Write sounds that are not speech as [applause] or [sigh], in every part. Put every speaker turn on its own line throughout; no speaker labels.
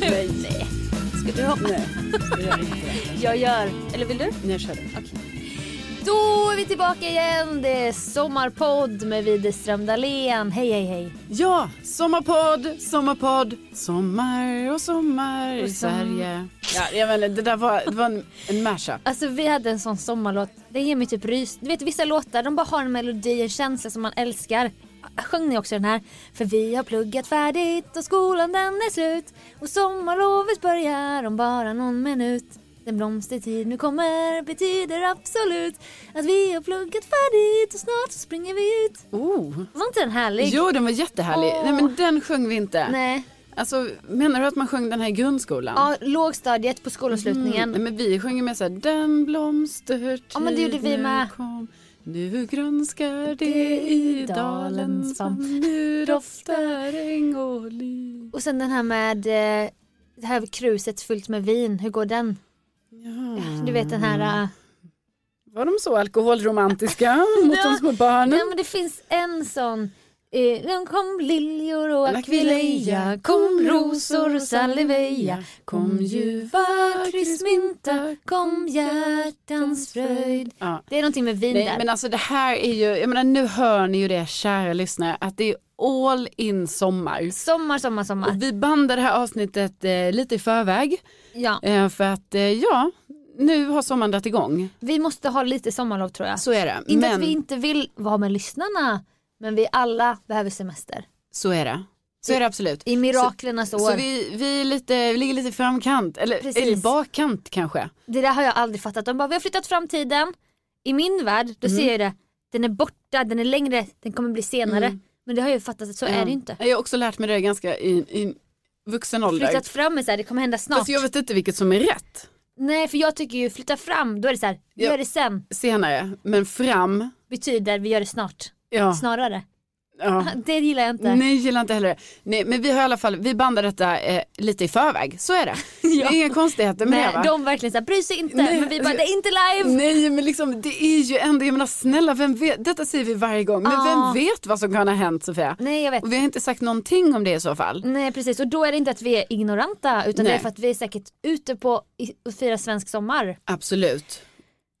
Nej. Ska du hoppa? Nej, det gör jag inte.
[laughs] Jag gör, eller vill du?
Nej, kör du.
Då är vi tillbaka igen. Det är sommarpodd med Widerström Dahlén. Hej, hej, hej.
Ja, sommarpodd, sommarpodd, sommar och sommar i Sverige. Ja, jag vet inte, det där var, det var en, en mashup.
Alltså vi hade en sån sommarlåt. Det ger mig typ rys. Du vet vissa låtar, de bara har en melodi, en känsla som man älskar. Sjöng ni också den här? För vi har pluggat färdigt och skolan den är slut. Och sommarlovet börjar om bara någon minut. Den blomstertid nu kommer betyder absolut att vi har pluggat färdigt och snart så springer vi ut.
Oh.
Var inte den härlig?
Jo, den var jättehärlig.
Åh.
Nej, men den sjöng vi inte.
Nej.
Alltså, menar du att man sjöng den här i grundskolan? Mm.
Ja, lågstadiet på skolavslutningen.
Nej, men vi sjöng ju med så här, den blomstertid
Ja, men det gjorde vi
nu
med.
Kom. Nu grönskar det i dalen som nu doftar äng och liv.
Och sen den här med eh, det här kruset fyllt med vin. Hur går den? Du vet den här. eh,
Var de så
[laughs]
alkoholromantiska mot de små barnen?
Nej men det finns en sån. eh, Nu kom liljor och akvileja,
Akvileja,
kom rosor och saliveja, kom ljuva kryssmynta, kom hjärtans fröjd.
Ja.
Det är någonting med vin
Nej,
där.
men alltså det här är ju, jag menar nu hör ni ju det kära lyssnare att det är all in sommar.
Sommar, sommar, sommar.
Och vi bandar det här avsnittet eh, lite i förväg
Ja,
eh, för att eh, ja, nu har sommaren dragit igång.
vi måste ha lite sommarlov tror jag.
Så är det.
inte
men
att vi inte vill vara med lyssnarna, men vi alla behöver semester.
så är det. Så är det absolut.
I miraklernas år.
Så vi, vi, är lite, vi ligger lite i framkant, eller,
Precis.
eller bakkant kanske.
Det där har jag aldrig fattat. De bara, vi har flyttat fram tiden. I min värld,
Mm.
då ser jag det. Den är borta, den är längre, den kommer bli senare. Men det har jag ju fattat att så är det ju inte.
Mm. Jag har också lärt mig det ganska i, i vuxen ålder.
Flyttat fram är så här, det kommer hända snart.
Fast jag vet inte vilket som är rätt.
Nej för jag tycker ju flytta fram, då är det så här, vi
Ja.
gör det sen.
senare, men fram.
Betyder vi gör det snart.
Ja,
Snarare.
ja.
Ah, Det gillar jag inte.
Nej, gillar inte heller det. Nej, men vi har i alla fall, vi bandar detta eh, lite i förväg, så är
[laughs]
det. Det är inga konstigheter med det
Nej,
va?
de verkligen så här, bryr sig inte.
Nej.
Men vi bara, det är inte live.
Nej men liksom det är ju ändå, jag menar snälla vem vet, detta säger vi varje gång, men
Ja.
vem vet vad som kan ha hänt Sofia?
Ah. Nej jag vet.
Och vi har inte sagt någonting om det i så fall.
Nej precis och då är det inte att vi är ignoranta utan det är
Nej.
för att vi är säkert ute på i- och firar svensk sommar.
Absolut.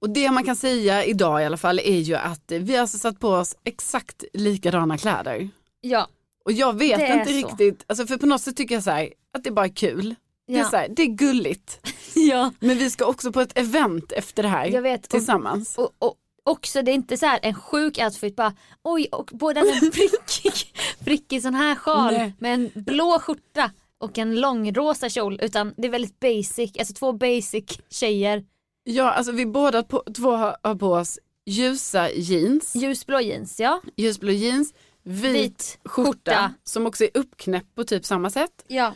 Och det man kan säga idag i alla fall är ju att eh, vi har alltså satt på oss exakt likadana kläder.
Ja.
Och jag vet
Det är
inte
så.
riktigt, alltså för på något sätt tycker jag så här, att det bara är kul. Det, är
Ja.
så här, det är gulligt.
[laughs] ja.
Men vi ska också på ett event efter det här.
Jag vet, och-
Tillsammans.
och, och också det är inte så här en sjuk outfit bara oj och båda med [laughs] prickig, prickig sån här sjal
Nej.
med en blå skjorta och en långrosa kjol utan det är väldigt basic, alltså två basic tjejer,
Ja, alltså vi båda på, två har har på oss ljusa jeans,
ljusblå jeans ja,
ljusblå jeans, vit,
Vit
skjorta,
skjorta.
som också är uppknäppt på typ samma sätt.
ja.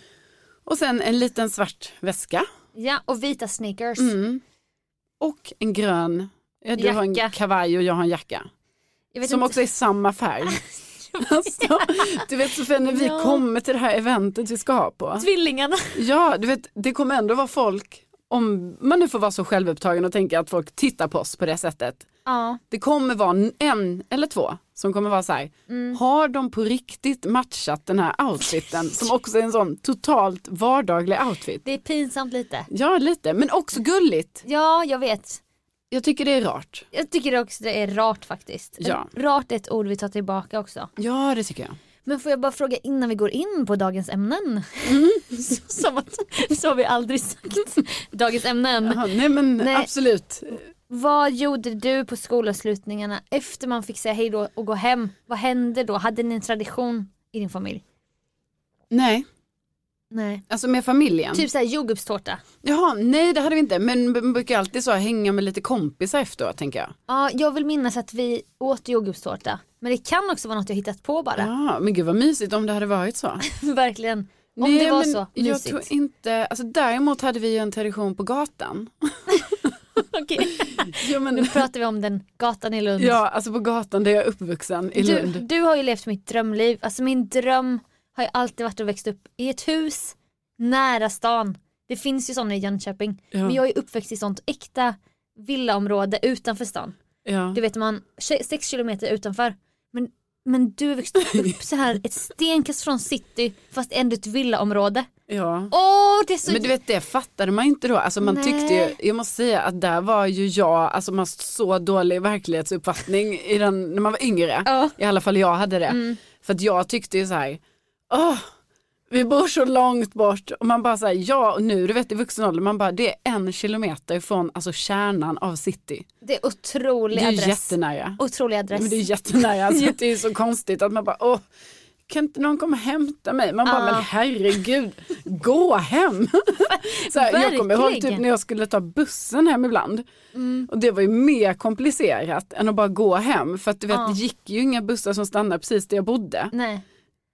Och sen en liten svart väska.
ja och vita sneakers.
Mm. och en grön, ja, du har en
Jacka.
kavaj och jag har en jacka.
Jag vet
Som
inte.
också är samma
[laughs]
färg. alltså, du vet Sofia, när vi
Ja.
kommer till det här eventet vi ska ha på.
Tvillingarna.
Ja, du vet, det kommer ändå vara folk, om man nu får vara så självupptagen och tänka att folk tittar på oss på det sättet.
Ja.
Det kommer vara n- en eller två som kommer vara så här,
Mm.
har de på riktigt matchat den här outfiten som också är en sån totalt vardaglig outfit?
Det är pinsamt lite.
Ja, lite, men också gulligt.
Ja, jag vet.
Jag tycker det är rart.
Jag tycker också det är rart faktiskt.
Ja.
Rart är ett ord vi tar tillbaka också.
Ja, det tycker jag.
Men får jag bara fråga innan vi går in på dagens ämnen?
Mm.
[laughs] Så- Som att, så har vi aldrig sagt. Dagens ämnen.
Jaha, nej, men
Nej.
absolut.
Vad gjorde du på skolavslutningarna efter man fick säga hej då och gå hem? Vad hände då? Hade ni en tradition i din familj?
Nej,
Nej.
alltså med familjen.
Typ såhär jordgubbstårta.
Jaha, nej det hade vi inte, men man brukar alltid så hänga med lite kompisar efteråt tänker jag.
Ja, jag vill minnas att vi åt jordgubbstårta. Men det kan också vara något jag hittat på bara.
Ja, Ah, men gud vad mysigt om det hade varit så.
[laughs] Verkligen. Om
Nej,
det var
men
så
Jag
mysigt.
tror inte, alltså däremot hade vi ju en tradition på gatan.
[laughs] Okej.
[laughs] Ja,
Nu
men,
pratar vi om den gatan i Lund.
ja alltså på gatan där jag är uppvuxen i
du,
Lund.
du har ju levt mitt drömliv. Alltså min dröm har ju alltid varit att växa upp i ett hus nära stan. Det finns ju sådana i Jönköping.
Ja.
Men jag är uppväxt i sånt äkta villaområde utanför stan.
Ja.
Du vet man, tje- sex kilometer utanför. Men, men du har växt
[laughs]
upp så här ett stenkast från city fast ändå ett villaområde.
Ja.
Åh det är så...
Men du vet det fattade man inte då. Alltså man
Nej.
tyckte ju, jag måste säga att där var ju jag, alltså man har så dålig verklighetsuppfattning i den, när man var yngre.
Ja. Mm.
I alla fall jag hade det. För att jag tyckte ju så här, åh, vi bor så långt bort. Och man bara så här, ja och nu du vet i vuxen ålder, man bara det är en kilometer från alltså kärnan av city.
det är otrolig
Det är ju
adress.
jättenära.
Otrolig adress.
Men det är jättenära, alltså,
[laughs]
det är ju så konstigt att man bara, åh, kan inte någon komma och hämta mig? Man bara,
Ja.
men herregud,
[laughs]
gå hem. så här, jag kommer ihåg typ
Verkligen.
när jag skulle ta bussen hem ibland. Och det var ju mer komplicerat än att bara gå hem. För att du vet,
Ja.
det gick ju inga bussar som stannade precis där jag bodde.
Nej.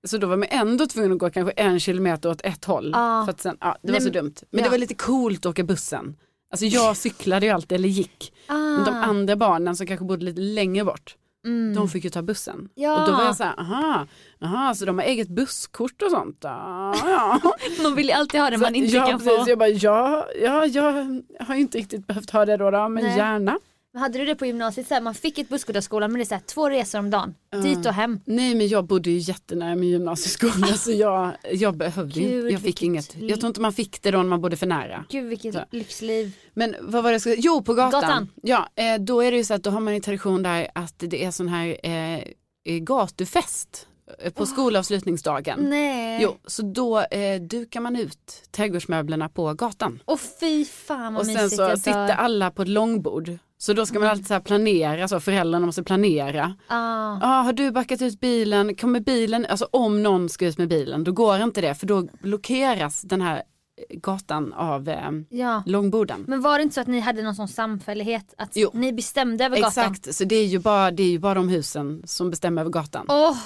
Så då var man ändå tvungen att gå kanske en kilometer åt ett håll.
Ja.
För att sen, ja, det var
Nej,
så
men-
dumt. Men det
ja.
var lite coolt att åka bussen. Alltså jag cyklade ju alltid, eller gick. Men
Ah.
de andra barnen som kanske bodde lite längre bort, de fick ju ta bussen.
Mm. Ja.
Och då var jag så här, aha, aha, så de har eget busskort och sånt. Ah, ja.
[laughs] Man vill ju alltid ha det man inte
ja,
kan
precis.
få.
Jag bara, ja, ja, jag har ju inte riktigt behövt ha det då, då men
Nej.
gärna.
Men hade du det på gymnasiet så här, man fick ett busskort av skolan men det är så här, två resor om dagen, dit och hem. Ah.
Nej men jag bodde ju jättenära min gymnasieskola så jag, jag behövde
Gud,
inte, jag fick
vilket
inget.
liv.
Jag tror inte man fick det då när man bodde för nära.
Gud vilket
Ja.
lyxliv.
Men vad var det jag skulle, jo på gatan.
Gatan.
Ja, eh, då är det ju så att då har man en tradition där att det är sån här eh, eh, gatufest eh, på skolavslutningsdagen.
Nej.
Jo, så då eh, dukar man ut trädgårdsmöblerna på gatan.
Och fy fan vad
Och sen
mysigt Mm.
så
jag dör.
sitter alla på ett långbord. Så då ska man alltid så här planera, så föräldrarna måste planera.
ah.
Ah, har du backat ut bilen, kommer bilen, alltså om någon ska ut med bilen, då går inte det för då blockeras den här eh, gatan av eh,
Ja.
långborden.
Men var det inte så att ni hade någon sån samfällighet? Att
Jo.
ni bestämde över gatan?
Exakt, så det är, ju bara, det är ju bara de husen som bestämmer över gatan.
Åh,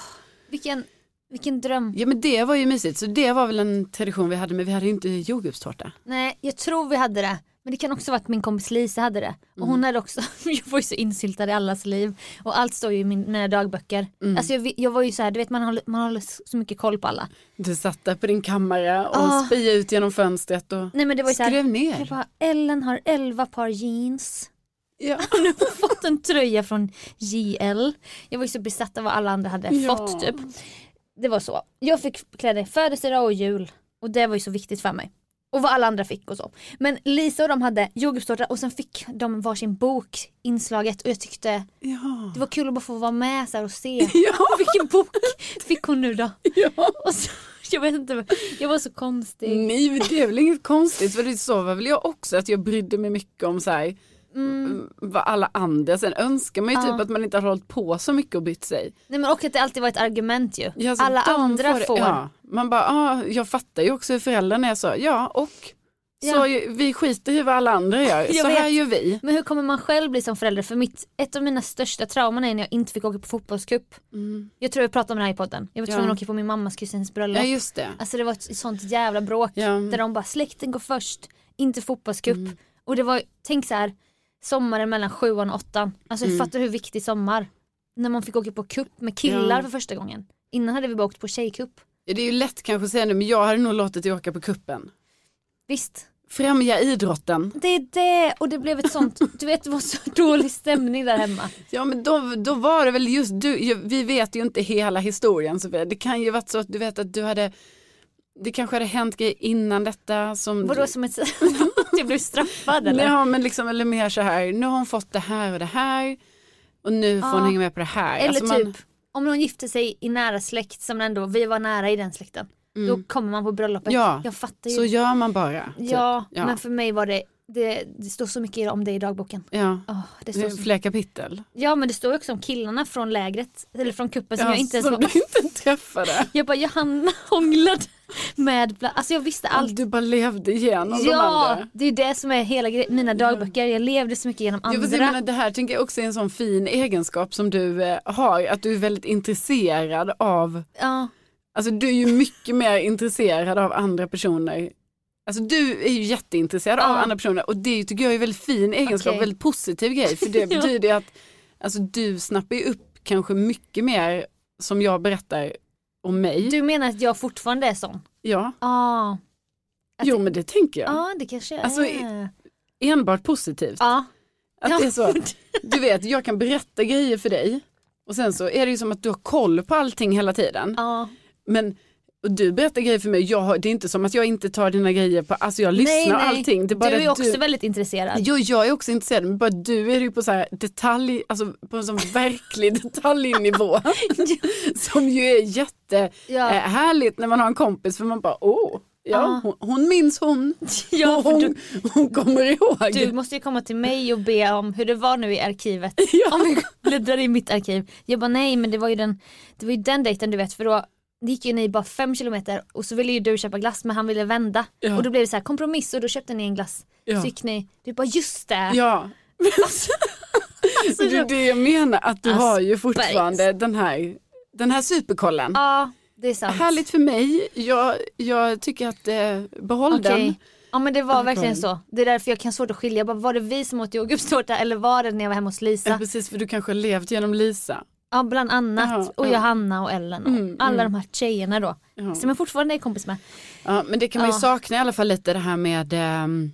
vilken, vilken dröm.
Ja men det var ju mysigt, så det var väl en tradition vi hade men vi hade ju inte jordgubbstårta.
Nej, jag tror vi hade det. Men det kan också vara att min kompis Lisa hade det. Och
Mm.
hon hade också, [laughs] jag var ju så insyltad i allas liv. Och allt står ju i min, mina dagböcker.
Mm.
Alltså jag, vi- jag var ju så här, du vet man håller, man håller så mycket koll på alla.
Du satt där på din kammare och
Ah.
spia ut genom fönstret och
Nej men det var ju så här,
skrev ner.
Jag bara, Ellen har 11 par jeans.
ja.
[laughs] Nu har hon fått en tröja från JL. Jag var ju så besatt av vad alla andra hade
Ja.
fått typ. Det var så. Jag fick kläder i födelsedag och jul. Och det var ju så viktigt för mig. Och vad alla andra fick och så. Men Lisa och de hade jordgubbstårta och sen fick de varsin bok inslaget och jag tyckte
Ja.
det var kul att bara få vara med så här och se.
[laughs] Ja.
Vilken bok fick hon nu då?
[laughs] ja.
Och så, jag vet inte, jag var så konstig.
Nej men det är väl inget konstigt för det så var väl jag också att jag brydde mig mycket om så här
Mm.
vad alla andra, sen önskar man ju typ att man inte har hållit på så mycket och bytt sig.
Nej men och att det alltid var ett argument ju.
Ja, så
alla
de
andra får.
Ja. Man bara, ah, jag fattar ju också hur föräldrarna är så, ja och? Så
Ja.
ju- vi skiter i vad alla andra gör,
[laughs] Jag
så här
vet.
gör vi.
Men hur kommer man själv bli som förälder? För mitt, ett av mina största trauman är när jag inte fick åka på fotbollscup. Jag tror jag pratade om det här i podden. Jag var tvungen
Mm. Ja.
att åka på min mammas kusins bröllop.
Ja just det.
Alltså det var ett sånt jävla bråk
Ja. Mm.
där de bara släkten går först, inte fotbollscup. Och det var, tänk så här,
sommaren mellan sjuan och åttan. Alltså
Mm.
fattar du hur viktig sommar? När man fick åka på cup med killar
Ja.
för första gången. Innan hade vi bara åkt på tjejcup.
Det är ju lätt kanske att säga nu men jag hade nog låtit dig åka på kuppen.
Visst,
Främja idrotten.
det är det och det blev ett
[laughs]
sånt, du vet det var så dålig stämning där hemma.
Ja men då, då var det väl just du, ju- vi vet ju inte hela historien Sofia. Det kan ju varit så att du vet att du hade, det kanske hade hänt grejer innan detta som...
Vadå som ett, [laughs] du blev straffad eller?
Ja men liksom eller mer så här, nu har hon fått det här och det här och nu får hon hänga med på det här.
Eller
Alltså,
typ
man-
om någon gifte sig i nära släkt som ändå, vi var nära i den släkten. Då kommer man på bröllopet.
Mm. Ja,
Jag fattar ju.
Så gör man bara. typ.
ja,
ja.
men för mig var det, det, det står så mycket om det i dagboken.
ja.
Åh, det
Det
står
är
så,
flera kapitel.
ja men det står ju också om killarna från lägret, eller från kuppen som
Ja,
jag inte ens
som
var
du inte träffade.
[laughs] Jag bara Johanna hånglade med, bland, alltså jag visste allt.
Du bara levde igenom de
Ja,
andra.
det är det som är hela grejen. Mina dagböcker, jag levde så mycket genom
Jo, fast jag menar,
andra.
det här tänker jag också är en sån fin egenskap som du eh, har, att du är väldigt intresserad av,
Ja,
alltså du är ju mycket mer intresserad av andra personer. Alltså du är ju jätteintresserad av
Ja.
andra personer och det tycker jag är en väldigt fin egenskap,
Okej.
väldigt positiv
[laughs]
grej. För det
Ja.
betyder att alltså, du snappar ju upp kanske mycket mer som jag berättar om mig.
du menar att jag fortfarande är sån?
Ja,
Ja,
jo men det tänker jag.
ja det kanske jag
Alltså,
är.
Enbart positivt.
Ja.
Att
Ja. [laughs]
det är så, du vet, jag kan berätta grejer för dig och sen så är det ju som att du har koll på allting hela tiden.
ja.
Men och du berättar grejer för mig, jag, har- det är inte som att jag inte tar dina grejer på, alltså jag lyssnar och allting. Det är bara
du är
att
också väldigt intresserad.
Jo, jag är också intresserad, men bara du är ju på så här detalj, alltså på en sån
[laughs]
verklig [laughs] detaljnivå. som ju är jättehärligt
Ja.
eh, härligt när man har en kompis för man bara, åh, ja,
Ja.
hon, hon minns hon.
[laughs] Ja, för
hon,
du-
hon kommer ihåg.
Du måste ju komma till mig och be om hur det var nu i arkivet.
[laughs] Ja.
Om vi bläddrar i mitt arkiv. Jag bara nej men det var ju den, det var ju den dejten du vet för då gick ju ni bara fem kilometer och så ville ju du köpa glass men han ville vända.
Ja.
Och då blev det så här kompromiss och då köpte ni en glass.
Ja.
Så gick ni, du bara just det.
Ja.
Alltså,
Det är
jag-
det jag menar, att du har ju
Aspergers.
fortfarande den här, den här superkollen.
ja det är sant.
Härligt för mig, jag, jag tycker att eh, behåll
Okej.
den.
Ja men det var verkligen
Okej.
så. Det är därför jag kan svårt att skilja. Jag bara, var det vi som åt jordgubbstårta eller var det när jag var hemma hos
Ja,
Lisa?
Eh, precis, för du kanske har levt genom Lisa.
Ja bland annat.
Jaha,
och
ja. Mm,
Johanna och Ellen och alla de här tjejerna då. Som jag fortfarande är kompis med.
Ja, men det kan man ju
Ja.
sakna i alla fall lite det här med ehm,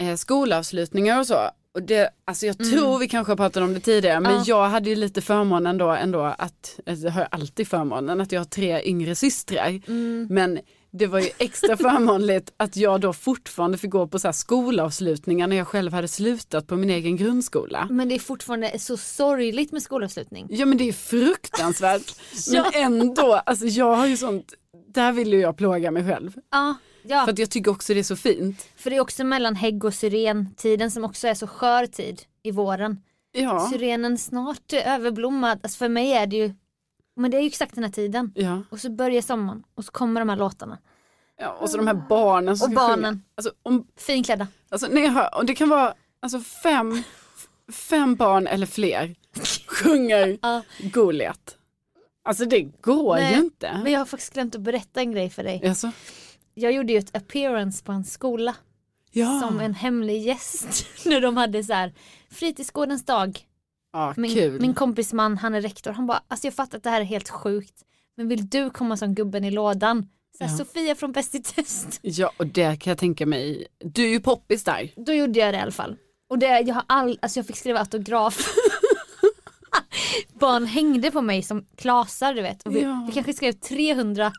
eh, skolavslutningar och så. Och det, alltså jag tror vi kanske har pratat om det tidigare, men
Mm. Ja.
jag hade ju lite förmånen då ändå att, alltså, jag har ju alltid förmånen att jag har tre yngre systrar.
Mm.
Men det var ju extra förmånligt
[laughs]
att jag då fortfarande fick gå på så här skolavslutningar när jag själv hade slutat på min egen grundskola.
Men det är fortfarande så sorgligt med skolavslutning.
Ja men det
[laughs]
är fruktansvärt.
Ja.
Men ändå, alltså jag har ju sånt, där vill ju jag plåga mig själv.
Ja, ja.
För att jag tycker också det är så fint.
för det är också mellan hägg och syrentiden som också är så skör tid i våren.
Ja.
Syrenen snart är överblommad, alltså för mig är det ju, men det är ju exakt den här tiden.
Ja.
Och så börjar sommaren och så kommer de här låtarna.
ja, och så de här barnen som
Och
ska sjunga.
barnen.
Alltså, om,
Finklädda.
alltså när jag hör, och det kan vara alltså fem, fem barn
[laughs]
eller fler sjunger
Ja.
Goliat. Alltså det går
Nej,
ju inte.
Men jag har faktiskt glömt att berätta en grej för dig.
Alltså,
Jag gjorde ju ett appearance på en skola
ja,
som en hemlig gäst [laughs] när de hade så här fritidsgårdens dag.
ja
Min,
kul.
min kompis man, han är rektor, han bara, alltså jag fattar att det här är helt sjukt, men vill du komma som gubben i lådan? Så här,
Ja.
Sofia från Bäst i test.
[laughs] Ja, och det kan jag tänka mig. Du är ju poppis där.
Då gjorde jag det i alla fall. Och det, jag, har all, alltså jag fick skriva autograf. [laughs] Barn hängde på mig som klasar du vet. Och vi,
Ja.
vi kanske skrev 300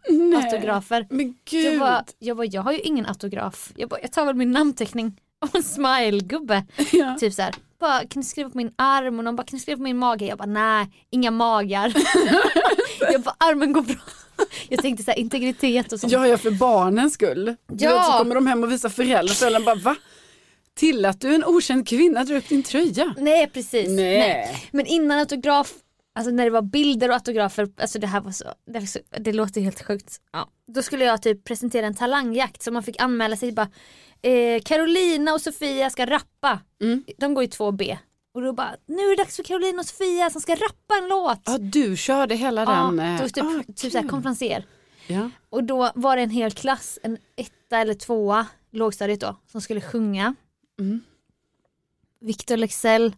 autografer.
Men
Jag
gud.
bara, jag bara, jag har ju ingen autograf. Jag, bara, jag tar väl min namnteckning [laughs] och en smile-gubbe.
Ja.
Typ så här, bara, kan du skriva på min arm? Och någon bara, kan du skriva på min mage? Jag bara, nej, inga
[laughs]
magar. jag bara, armen går bra. Jag tänkte så här, integritet och sånt.
Ja, ja, för barnens skull. Du
Ja.
vet, så kommer de hem och visar föräldrar och föräldrarna bara va? Till att du en okänd kvinna drar upp din tröja.
Nej, precis.
Nej.
Men innan autograf, alltså när det var bilder och autografer, alltså det här var så, det, var så, det låter helt sjukt. Ja. Då skulle jag typ presentera en talangjakt så man fick anmäla sig bara, eh, Carolina och Sofia ska rappa.
Mm.
De går ju 2B. Och då bara, nu är det dags för Carolina och Sofia som ska rappa en låt.
Ja, du körde hela den.
ja,
eh,
då typ,
ah,
typ såhär
kul.
konferenser.
Ja.
Och då var det en hel klass,
Mm.
en etta eller tvåa, lågstadiet då, som skulle sjunga. Victor Lexell,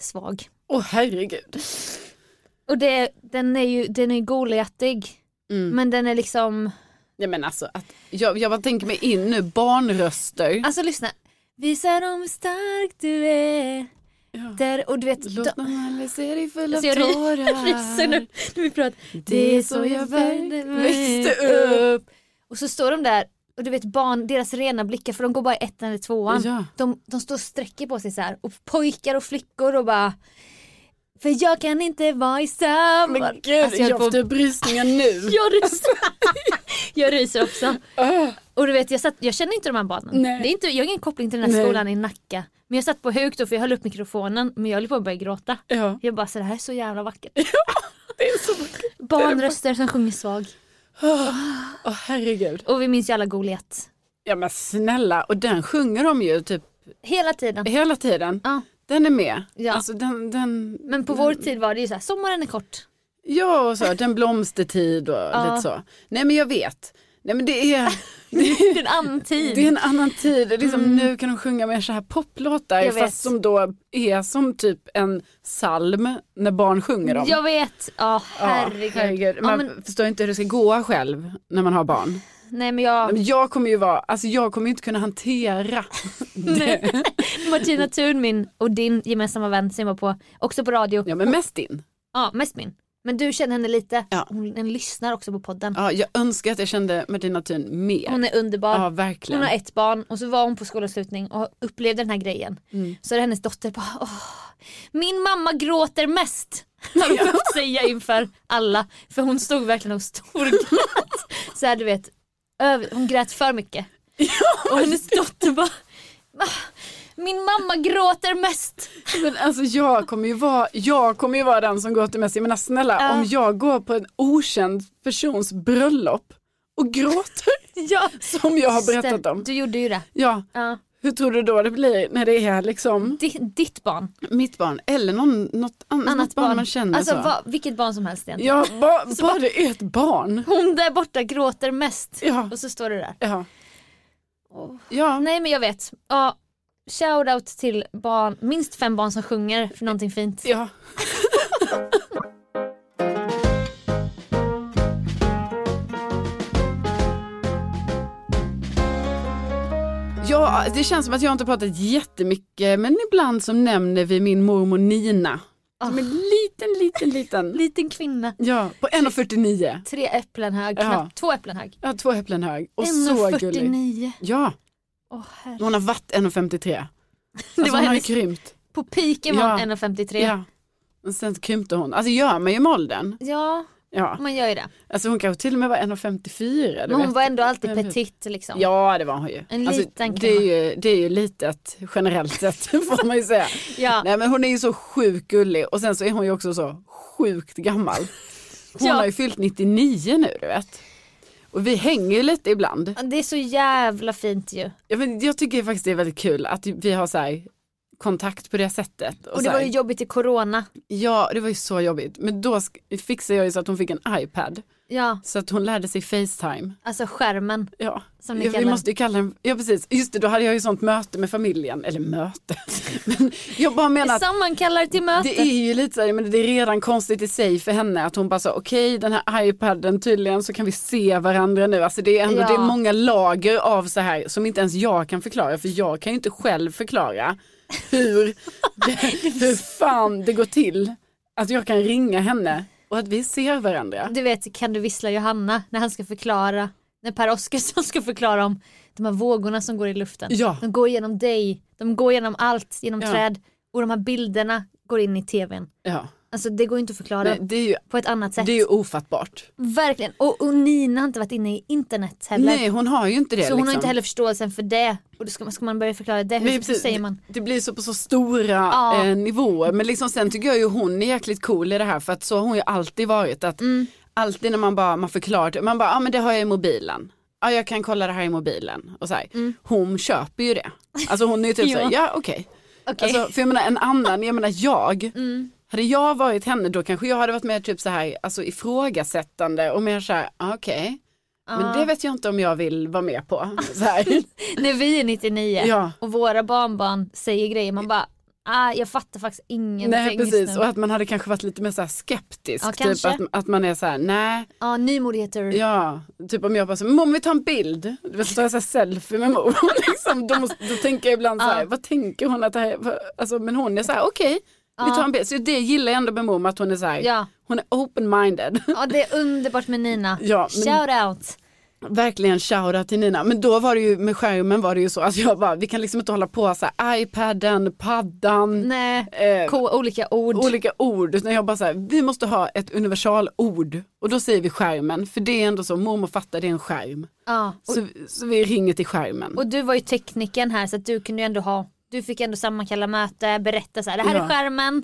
svag.
Åh herregud.
Och det, den är ju den är goliatig.
Mm.
Men den är liksom,
Ja, men alltså, att, jag, jag bara tänker mig in nu, barnröster.
alltså lyssna. Visa dem hur stark du är.
Ja.
Där, och du vet,
Låt mig aldrig se dig full av
Alltså, jag ry- ryser [laughs]
tårar.
nu när vi pratar.
Det är så jag
värde-
växte upp.
Och så står de där och du vet barn, deras rena blickar för de går bara i ettan eller tvåan.
Ja.
De, de står och sträcker på sig så här och pojkar och flickor och bara för jag kan inte vara i samma...
Men gud,
Alltså,
jag
höll på-
får brysningar
[laughs]
nu. Ah.
jag ryser. jag ryser också. Och du vet jag, satt, jag känner inte de här barnen.
Nej.
Det är inte, jag har ingen koppling till den här
Nej.
skolan i Nacka. Men jag satt på högt då för jag höll upp mikrofonen men jag höll på att börja gråta.
Ja.
Jag bara så det här är så jävla
[laughs]
vackert.
Det är så vackert.
Barnröster som sjunger svag.
Åh herregud.
Och vi minns ju alla Goliat.
Ja men snälla, och den sjunger de ju typ
Hela tiden.
hela tiden.
Ja.
Den är med.
Ja.
Alltså den, den,
Men på vår tid var det ju så här, sommaren är kort.
ja och så, den blomstertid och lite så. Nej men jag vet. Nej men det är,
[laughs]
det
Det
är,
är en annan tid. Mm.
det är en annan tid. Det är Liksom, Nu kan de sjunga mer så här poplåtar
Jag vet.
fast som då är som typ en psalm när barn sjunger dem.
Jag vet, ja
Ja,
herregud. Ja,
Man
men,
förstår inte hur det ska gå själv när man har barn.
nej men jag,
Men jag kommer ju vara, alltså jag kommer ju inte
[laughs]
kunna hantera det.
Martina Thun min och din gemensamma vän som jag var på, också på radio.
Ja men mest din.
Ja, mest min. Men du känner henne lite.
Ja.
Hon, hon lyssnar också på podden.
Ja, jag önskar att jag kände Martina Thun mer.
Hon är underbar.
Ja verkligen.
Hon har ett barn och så var hon på skolavslutning och upplevde den här grejen.
Mm.
Så är det hennes dotter bara Åh,
[laughs]
min mamma gråter mest. Har hon fått säga inför alla. För hon stod verkligen och storgrät. så här, du vet, över, hon grät för mycket. och hennes dotter bara "Ah, min mamma gråter mest.
Men alltså jag kommer ju vara, jag kommer ju vara den som går till mest. Jag menar snälla
Ja.
om jag går på en okänd persons bröllop och gråter
[laughs] Ja.
som jag har berättat
Stäm-
om.
Du gjorde ju det.
Ja,
Ja.
hur tror du då det blir när det är liksom
Di- ditt barn.
mitt barn eller någon, något annat,
Annat
barn
barn.
man känner
alltså,
så.
vad- vilket barn som helst egentligen.
Ja, ba, bara det är ett barn.
Hon där borta gråter mest.
Ja.
Och så står det där.
Ja. Ja.
Nej men jag vet. Ja, shoutout till barn, minst fem barn som sjunger för någonting fint.
Ja. [laughs] Ja, det känns som att jag inte har pratat jättemycket men ibland som nämner vi min mormor Nina. Som en liten,
[laughs]
liten, liten.
Ah, Liten kvinna.
Ja, på 1,49.
Tre äpplen hög,
Ja.
knappt två äpplen hög.
Ja, två äpplen hög. Och så gullig.
1,49.
Ja,
Åh herre.
hon har varit 1,53.
[laughs]
Alltså,
Det var
hon har ju
hennes,
krympt.
på piken var hon
Ja.
1,53. Ja.
Ja. Och sen krympte hon. Alltså gör man ju med åldern. Ja.
man gör ju det.
Alltså hon kanske till och med var 1,54. du
Men hon
vet.
var ändå alltid
Jag vet.
petit liksom.
Ja det var hon ju. Alltså,
En liten
det, är ju det är ju litet generellt sett [laughs] får man ju säga.
Ja.
Nej men hon är ju så sjukt gullig och sen så är hon ju också så
[laughs]
sjukt gammal. Hon
Ja.
har ju fyllt 99 nu du vet. Och vi hänger ju lite ibland.
Det är så jävla fint ju.
Ja, men jag tycker faktiskt det är väldigt kul att vi har så här kontakt på det sättet.
Och
så
det var
här-
ju jobbigt i corona.
Ja det var ju så jobbigt. Men då sk- fixade jag ju så att hon fick en iPad.
Ja,
Så att hon lärde sig Facetime.
alltså skärmen.
Ja,
Som ni
ja vi
kallar
måste ju kalla den, ja precis, just det då hade jag ju sånt möte med familjen, eller möte, [laughs] men jag bara menar att
Sammankallar till möte.
det är ju lite så här, men det är redan konstigt i sig för henne att hon bara sa okej den här iPaden tydligen så kan vi se varandra nu, alltså det är ändå
Ja.
det är många lager av så här som inte ens jag kan förklara för jag kan ju inte själv förklara hur,
[laughs]
hur fan det går till att jag kan ringa henne och att vi ser varandra.
Du vet, kan du vissla Johanna när han ska förklara, när Per Oskarsson ska förklara om de här vågorna som går i luften.
Ja.
De går genom dig, de går genom allt, genom
Ja.
träd och de här bilderna går in i tvn.
Ja.
Alltså det går ju inte att förklara
Nej, det är ju
på ett annat sätt.
det är ju ofattbart.
Verkligen. Och, och Nina har inte varit inne i internet heller.
Nej hon har ju inte det.
så hon har
liksom.
inte heller förståelsen för det. Och då ska man, ska man börja förklara det, hur,
Nej,
hur
precis.
säger man?
Det blir så på så stora
Ja.
eh, nivåer. Men liksom, sen tycker jag ju hon är jäkligt cool i det här för att så har hon ju alltid varit. Att
Mm.
Alltid när man bara man förklarar, det, man bara, ja ah, men det har jag i mobilen. Ja ah, jag kan kolla det här i mobilen. Och så här.
Mm.
Hon köper ju det. Alltså hon är ju typ
Ja. [laughs]
såhär, ja okej.
Okej. Mm.
Alltså, för jag menar en annan, jag menar jag. Hade jag varit henne då kanske jag hade varit mer typ så här, alltså ifrågasättande och mer så här, ah, okej. Men det vet jag inte om jag vill vara med på. Så här.
[laughs] När vi är 99
Ja.
och våra barnbarn säger grejer, man bara ah, jag fattar faktiskt ingenting
Nej
just
precis
nu.
och att man hade kanske varit lite mer så här skeptisk.
Ja,
typ
kanske.
att, att man är så här, nej,
Ja, nymodigheter.
ja, typ om jag bara så, mom vi tar en bild, du vet, så tar jag så här selfie med mor. [laughs] liksom, då, måste, då tänker jag ibland så här, vad tänker hon att det här är? Vad- Alltså, men hon är så här, okej, vi tar en bild. Så det gillar jag ändå med mor, att hon är så här,
Ja.
hon är open-minded.
Ja, det är underbart med Nina.
[laughs] Ja, men-
Shout out.
Verkligen shoutout till Nina. Men då var det ju med skärmen var det ju så. Alltså jag bara, vi kan liksom inte hålla på så här iPaden, paddan,
Nej,
Eh,
K, olika ord.
olika ord. Utan jag bara så här, vi måste ha ett universalord. Och då säger vi skärmen. För det är ändå så, mormor fattar det är en skärm.
ja. och,
Så, så vi ringer till skärmen.
och du var ju tekniken här så att du kunde ju ändå ha, du fick ändå sammankalla möte, berätta så här, det här
Ja.
är skärmen,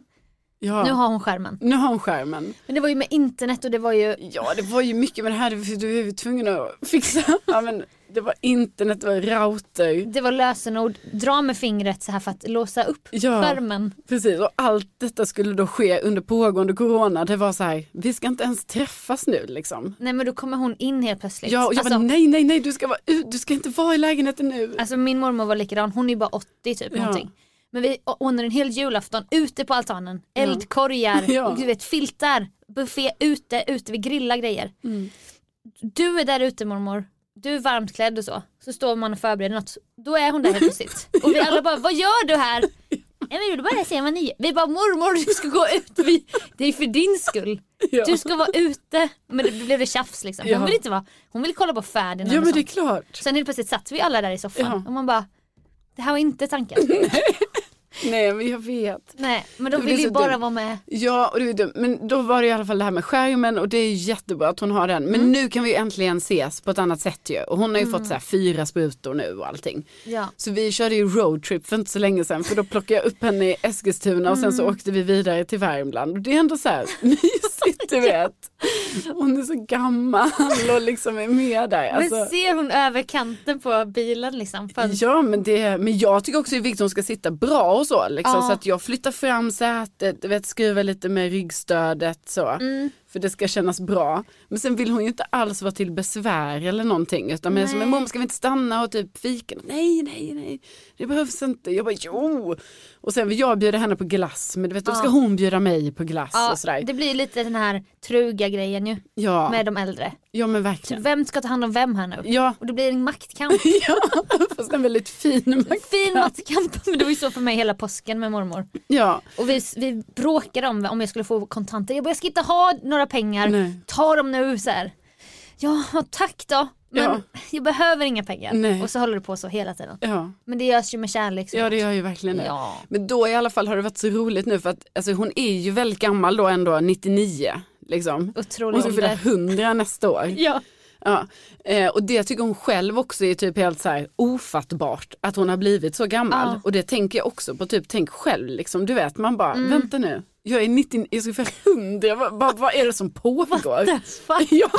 ja.
nu har hon skärmen.
nu har hon skärmen.
Men det var ju med internet och det var ju,
Ja det var ju mycket med det här, du, du är ju tvungen att
[laughs]
fixa. Ja, men det var internet, det var router.
det var lösenord, dra med fingret så här för att låsa upp
Ja.
skärmen.
Precis, och allt detta skulle då ske under pågående corona. Det var så här, vi ska inte ens träffas nu liksom.
Nej men då kommer hon in helt plötsligt.
Ja, och jag
alltså,
bara nej, nej, nej, du ska, vara ut, du ska inte vara i lägenheten nu.
alltså min mormor var likadan, hon är ju bara 80 typ
Ja.
någonting. Men vi ordnade en hel julafton ute på altanen,
Mm.
eldkorgar,
[laughs] Ja.
och [laughs] du vet filtar, buffé ute, ute, vi grillar grejer.
Mm.
Du är där ute mormor, du är varmt klädd och så, så står man och förbereder något, då är hon där helt plötsligt. Och vi alla bara, vad gör du
[laughs]
här? Nej men du bara ser vad ni gör." Vi bara mormor du ska gå ut, vi, det är för din skull.
[laughs] Ja.
Du ska vara ute. Men det blev det tjafs liksom. Hon
Ja.
vill inte vara, hon vill kolla på Ferdinand
Ja,
och
men det är
sånt.
klart.
Sen helt plötsligt satt vi alla där i soffan
Ja.
och man bara Det här var inte tanken.
[laughs] Nej, men jag vet.
Nej men de
Det blir
vill ju
så
bara
dumt.
vara med.
Ja, och det är ju dumt. men då var det i alla fall det här med skärmen och det är ju jättebra att hon har den.
Mm.
Men nu kan vi ju äntligen ses på ett annat sätt ju. Och hon har ju fått så här fyra sprutor nu och allting.
Ja.
Så vi körde ju roadtrip för inte så länge sedan för då plockade jag upp henne i Eskilstuna och sen så
Mm.
åkte vi vidare till Värmland. Och det är ändå så här [laughs] mysigt
[laughs]
du vet. Hon är så gammal och liksom är med där. Alltså-
Men ser hon över kanten på bilen liksom? För...
Ja men, det, men jag tycker också det är viktigt att hon ska sitta bra och så. Liksom,
Ja.
Så att jag flyttar fram sätet, du vet, skruvar lite med ryggstödet så.
Mm.
För det ska kännas bra. Men sen vill hon ju inte alls vara till besvär eller någonting. Utan men som en mom ska vi inte stanna och typ fika? Nej, nej, nej. Det behövs inte. Jag bara jo. Och sen vill jag bjuda henne på glass. Men du vet då ska hon bjuda mig på glass
Ja,
och sådär.
det blir lite den här truga grejen ju
Ja.
med de äldre.
ja men
Så
verkligen.
vem ska ta hand om vem här nu?
Ja.
Och det blir en maktkamp.
[laughs] ja, fast en väldigt fin mack.
Fin maktkamp. [laughs] Men det var ju så för mig hela påsken med mormor.
Ja.
Och vi, vi bråkade om om jag skulle få kontanter. Jag bara, jag ska inte ha några pengar.
Nej.
Ta dem nu så här. Ja, tack då. Men
Ja.
jag behöver inga pengar.
Nej.
Och så håller det på så hela tiden.
ja.
Men det görs ju med kärlek. Så.
Ja det gör ju verkligen det.
Ja.
Men då i alla fall har det varit så roligt nu för att alltså, hon är ju väldigt gammal då ändå, 99. Liksom.
Otrolig
hon ska fylla
ålder.
100 nästa år.
Ja.
Ja. Eh, och det tycker hon själv också är typ helt så här ofattbart att hon har blivit så gammal.
Ja.
Och det tänker jag också på, typ tänk själv liksom, du vet man bara
Mm.
vänta nu. Jag är 90, jag ska fylla 100, vad, vad, vad är det som pågår?
fuck?
[laughs] ja,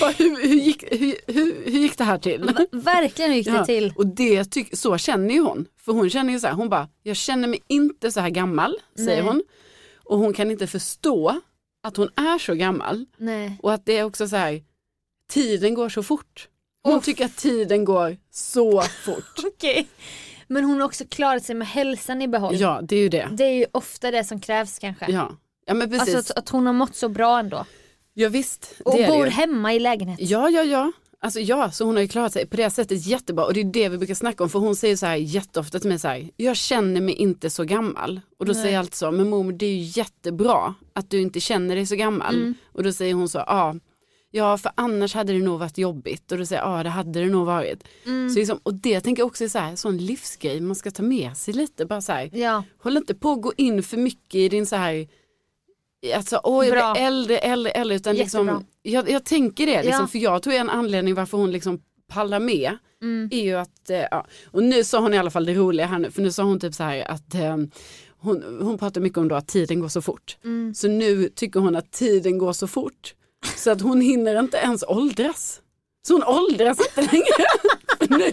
bara, hur, hur, gick, hur, hur, hur gick det
[laughs]
här till?
Verkligen hur gick det
Ja,
till.
Och det tyck- så känner ju hon. För hon känner ju så här, hon bara, jag känner mig inte så här gammal, säger hon. Och hon kan inte förstå att hon är så gammal.
Nej.
Och att det är också så här, tiden går så fort. Hon tycker att tiden går så
[laughs]
fort.
Okej. Men hon har också klarat sig med hälsan i behåll.
ja, det är ju det.
Det är ju ofta det som krävs kanske.
Ja, ja men precis.
Alltså att, att hon har mått så bra ändå.
ja visst,
Och
det är det
bor
ju.
hemma i lägenheten. [laughs]
Ja, ja, ja. Alltså ja, så hon har ju klarat sig på det sättet jättebra och det är det vi brukar snacka om för hon säger så här jätteofta till mig så här, jag känner mig inte så gammal och då säger jag alltid så, men mormor det är ju jättebra att du inte känner dig så gammal
Mm.
och då säger hon så, ja, ja för annars hade det nog varit jobbigt och då säger jag, ja det hade det nog varit.
Mm.
Så liksom, och det tänker jag också är så här, sån livsgrej man ska ta med sig lite, bara så här,
Ja.
håll inte på att gå in för mycket i din så här Alltså, åh, jag
Bra.
blir äldre, äldre, äldre. Utan
Jättebra.
liksom, jag, jag tänker det, liksom,
Ja.
för jag tror en anledning varför hon liksom pallar med är ju att, eh, ja. och nu sa hon i alla fall det roliga här nu, för nu sa hon typ så här att eh, hon, hon pratar mycket om då att tiden går så fort. Så nu tycker hon att tiden går så fort så att hon hinner inte ens åldras. Så hon åldras inte längre. [laughs] nu,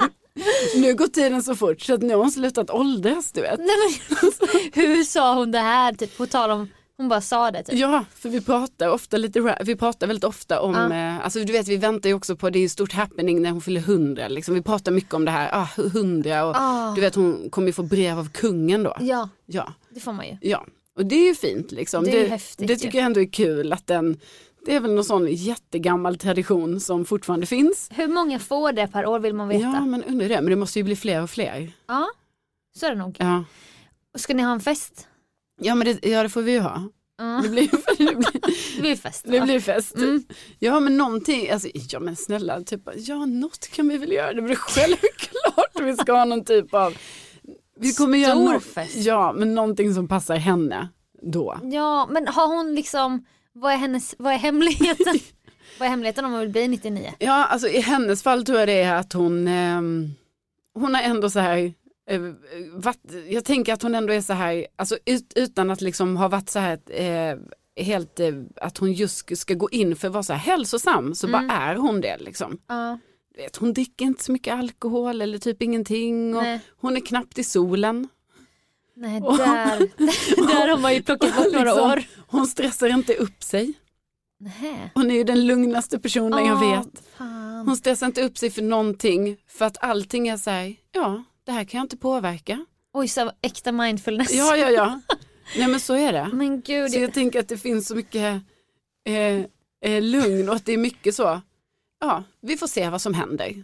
nu går tiden så fort så att nu har hon slutat åldras du vet.
Nej, men, hur sa hon det här? Typ, på tal om, hon Hon bara sa det typ.
Ja, för vi pratar ofta lite, ra- vi pratar väldigt ofta om,
Ja.
eh, alltså du vet vi väntar ju också på, det är ju stort happening när hon fyller hundra, liksom. vi pratar mycket om det här, ah, hundra och
Ah.
du vet hon kommer ju få brev av kungen då.
Ja,
Ja,
det får man ju.
ja. och det är ju fint liksom.
Det är ju häftigt
det
ju.
tycker jag ändå är kul att den, det är väl någon sån jättegammal tradition som fortfarande finns.
Hur många får det per år vill man veta?
Ja
Ja,
men undrar det, men det måste ju bli fler och fler.
så är det nog.
Ja,
Ska ni ha en fest?
ja men det, ja, det får vi ju ha.
Mm.
Det blir, [laughs] det blir,
Det blir fest.
Det
va?
blir fest. typ.
Mm.
Ja men någonting, alltså, ja men snälla, typ, ja något kan vi väl göra, det blir självklart vi ska ha någon typ av vi kommer göra
Stor
nå-
fest.
Ja men någonting som passar henne då.
Ja, men har hon liksom, vad är, hennes, vad är
[laughs]
hemligheten? vad är hemligheten om hon vill bli 99?
Ja alltså i hennes fall tror jag det är att hon, ehm, hon har ändå så här eh, varit, jag tänker att hon ändå är så här, alltså ut, utan att liksom ha varit så här eh, helt, eh, att hon just ska- ska gå in för att vara så här hälsosam, så bara är hon det liksom.
Mm. Ja,
du vet, hon dricker inte så mycket alkohol eller typ ingenting. Och
Nej.
hon är knappt i solen.
nej
Och- [laughs]
där, [laughs] där har man ju plockat bort några
Liksom,
år.
Hon stressar inte upp sig.
Nej.
Hon är ju den lugnaste personen jag
Ah,
vet.
Fan.
Hon stressar inte upp sig för någonting för att allting är så här, ja, det här kan jag inte påverka.
Oj, så äkta mindfulness.
Ja, ja, ja. Nej men så är det.
Men gud,
Så
det-
jag tänker att det finns så mycket eh, eh, lugn och att det är mycket så, ja, vi får se vad som händer.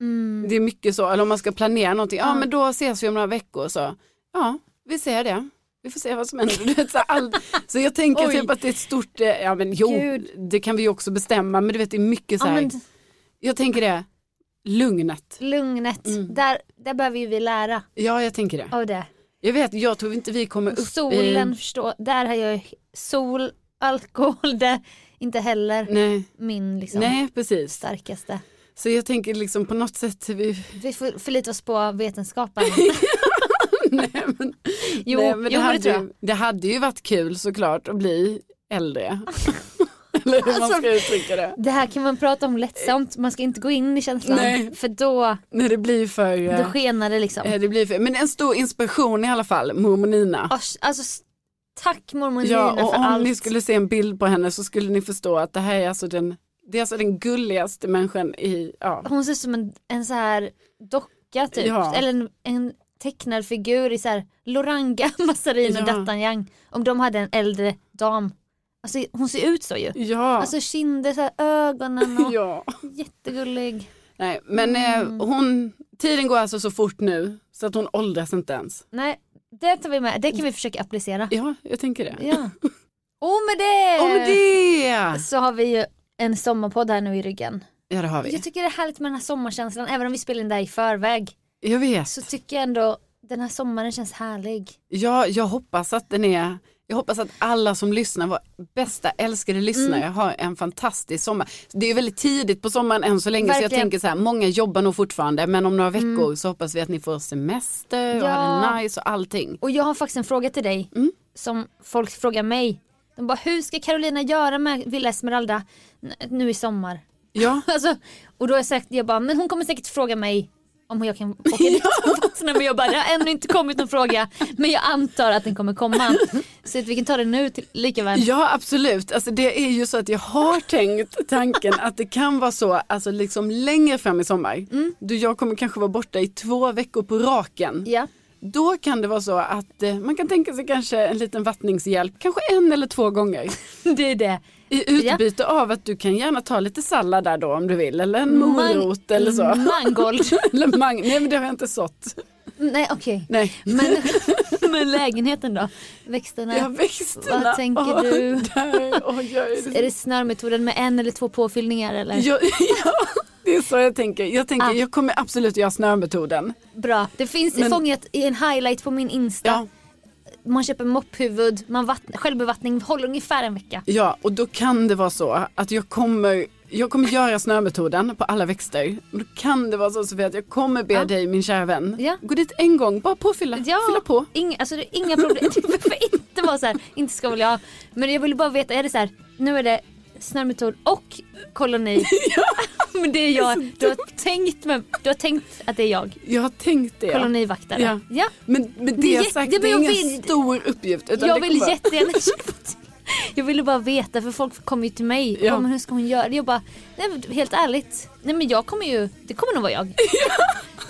Mm.
Det är mycket så, eller om man ska planera någonting, ja men då ses vi om några veckor så, ja, vi ser det. Vi får se vad som händer. [laughs] Du vet, så, här, all... så jag tänker
Oj.
typ att det är ett stort, eh, ja men jo,
Gud.
det kan vi ju också bestämma, men du vet det är mycket så
ja,
här,
men,
jag tänker det, lugnet. Mm.
lugnet, där, där behöver ju vi lära
Ja, jag tänker det.
av det.
Jag vet, jag tror inte vi kommer upp
Solen,
i...
förstå, där har jag ju sol, alkohol, det inte heller
Nej,
min liksom
nej precis.
starkaste.
Så jag tänker liksom på något sätt, vi...
Vi får förlita oss på vetenskapen.
[laughs] nej, men...
Jo,
Nej, men det,
jo, men
hade
det tror
Ju,
jag.
det hade ju varit kul såklart att bli
[laughs]
äldre. Eller hur man
Alltså-
ska uttrycka det.
Det här kan man prata om lättsamt, man ska inte gå in i känslan
Nej.
för då,
När det blir för...
då
eh,
skenar det liksom.
eh, Det blir för men en stor inspiration i alla fall, mormor Nina.
Asch, Alltså, s- tack mormor Nina
Ja, och
för
om
allt.
ni skulle se en bild på henne så skulle ni förstå att det här är alltså den, det är alltså den gulligaste människan i, ja.
Hon ser ut som en, en så här docka typ,
Ja.
eller en, en tecknad figur i så här Loranga, [laughs] Massarin och
Ja.
Dattan Yang. Om de hade en äldre dam. Alltså hon ser ut så ju.
Ja,
Alltså kinder, så här, ögonen och
[laughs] ja.
jättegullig. Mm.
Nej, men eh, hon, tiden går alltså så fort nu så att hon åldras inte ens.
Nej, det tar vi med, det kan vi försöka applicera.
Ja, jag tänker det. [laughs]
Ja. Eh, Och med det!
Om det!
så har vi ju en sommarpodd här nu i ryggen.
Ja, det har vi.
Jag tycker det är härligt med den här sommarkänslan, även om vi spelar in det här i förväg.
Jag vet.
Så tycker jag ändå den här sommaren känns härlig.
Ja, jag hoppas att den är jag hoppas att alla som lyssnar, våra bästa älskade lyssnare,
Mm.
har en fantastisk sommar. Det är väldigt tidigt på sommaren än så länge så jag
Verkligen. Mm.
tänker så här, många jobbar nog fortfarande men om några veckor så hoppas vi att ni får semester och
Ja.
har det nice och allting.
Och jag har faktiskt en fråga till dig som folk frågar mig. De bara, hur ska Carolina göra med Villa Esmeralda n- nu i sommar?
Ja,
[laughs] Alltså, och då har jag sagt, jag bara, men hon kommer säkert fråga mig om jag [laughs] kan åka dit och fastna. Men jag bara, det har ännu inte kommit någon fråga. Men jag antar att den kommer komma. Så att vi kan ta det nu till, lika väl.
ja absolut. Alltså, det är ju så att jag har tänkt tanken att det kan vara så, alltså liksom längre fram i sommar, då jag kommer kanske vara borta i två veckor på raken.
Ja.
Då kan det vara så att eh, man kan tänka sig kanske en liten vattningshjälp, kanske en eller två gånger.
[laughs] Det är det.
I utbyte av att du kan gärna ta lite sallad där då om du vill, eller en morot eller så.
Mangold.
[laughs] eller mang- Nej men det har jag inte sått.
Nej okej.
Nej. [laughs]
Men, men lägenheten då? Växterna?
Jag växterna.
Vad tänker
Åh,
du?
Där. Åh, jag
[laughs]
är...
Är det snörmetoden med en eller två påfyllningar eller?
Jag, [laughs] ja, det är så jag tänker. Jag tänker,
Ah.
jag kommer absolut göra snömetoden.
Bra, det finns
Men-
fångat i en highlight på min Insta.
Ja.
Man köper mopphuvud, man vatt- självbevattning håller ungefär en vecka.
ja, och då kan det vara så att jag kommer jag kommer göra snömetoden på alla växter. Men då kan det vara så Sofia att jag kommer be dig min kära vän.
Ja.
Gå dit en gång, bara påfylla.
Ja,
Fylla på.
Inga, alltså, det är inga problem. [laughs] Det behöver inte vara så här, inte ska väl jag. Men jag ville bara veta, är det så här, nu är det snörmetod och
[laughs]
koloni. [laughs] Men det är jag. Du har, tänkt med, du har tänkt att det är jag,
Jag har tänkt det.
kolonivaktare.
Ja.
Ja.
Men, men det,
Det är
är
jätte-
sagt,
det-
det
men
är
jag
ingen
vill-
stor uppgift. Utan
Jag
det
vill
kommer- [laughs]
jättegärna köpa till. Jag ville bara veta för folk kommer ju till mig.
Ja.
Ja. Men hur ska hon göra? Jag bara, nej, men helt ärligt. Nej men jag kommer ju, det kommer nog vara
[laughs]
jag.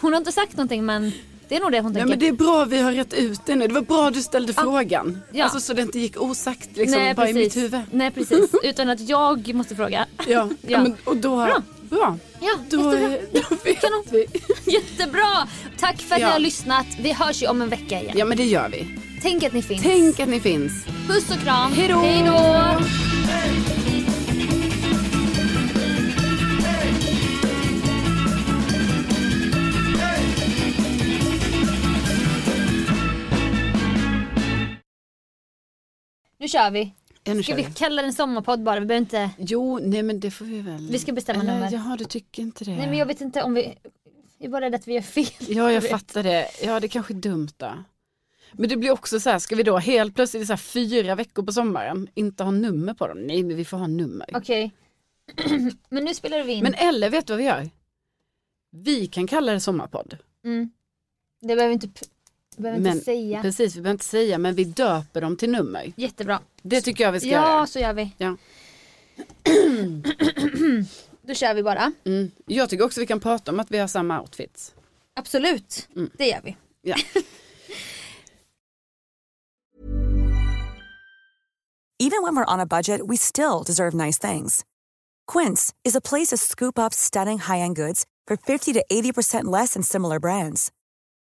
Hon har inte sagt någonting men det är nog det hon
Nej
tänker.
men det är bra vi har rätt ut det nu. Det var bra du ställde frågan.
Ja.
Alltså så det inte gick osagt liksom bara i mitt huvud.
Nej precis, utan att jag måste fråga. [laughs]
Ja, ja.
Ja.
Men, och då...
Bra.
Bra.
Ja,
Då,
jättebra.
då vet
Kanon.
vi.
[laughs] Jättebra! Tack för att
Ja.
ni har lyssnat. Vi hörs ju om en vecka igen.
Ja men det gör vi.
Tänk att ni finns.
Tänk att ni finns.
Puss och kram.
Hej då.
Hej då. Nu kör vi.
Ja, nu
Ska
kör
vi
vi.
kalla den sommarpodd bara? Vi behöver inte...
Jo, nej men det får vi väl.
Vi ska bestämma
Eller,
nummer.
Jaha, du tycker inte det.
Nej men jag vet inte om vi... Jag är bara rädd att vi gör fel.
Ja, jag
vet.
fattar det. Ja, det kanske är dumt då. Men det blir också så här, ska vi då helt plötsligt så här fyra veckor på sommaren inte ha nummer på dem? Nej, men vi får ha nummer.
Okej. [clears throat] men nu spelar vi in.
Men eller vet du vad vi gör? Vi kan kalla det sommarpodd.
Mm. Det behöver vi inte, p- vi behöver
Men-
inte säga.
Precis, vi behöver inte säga, men vi döper dem till nummer.
Jättebra.
Det tycker jag vi ska
Ja,
göra.
så gör vi. [clears throat]
Ja.
Då kör vi bara.
Mm. Jag tycker också vi kan prata om att vi har samma outfits.
Absolut, det gör vi. [laughs]
Ja.
Even when we're on a budget, we still deserve nice things. Quince is a place to scoop up stunning high end goods for 50 to 80% less than similar brands.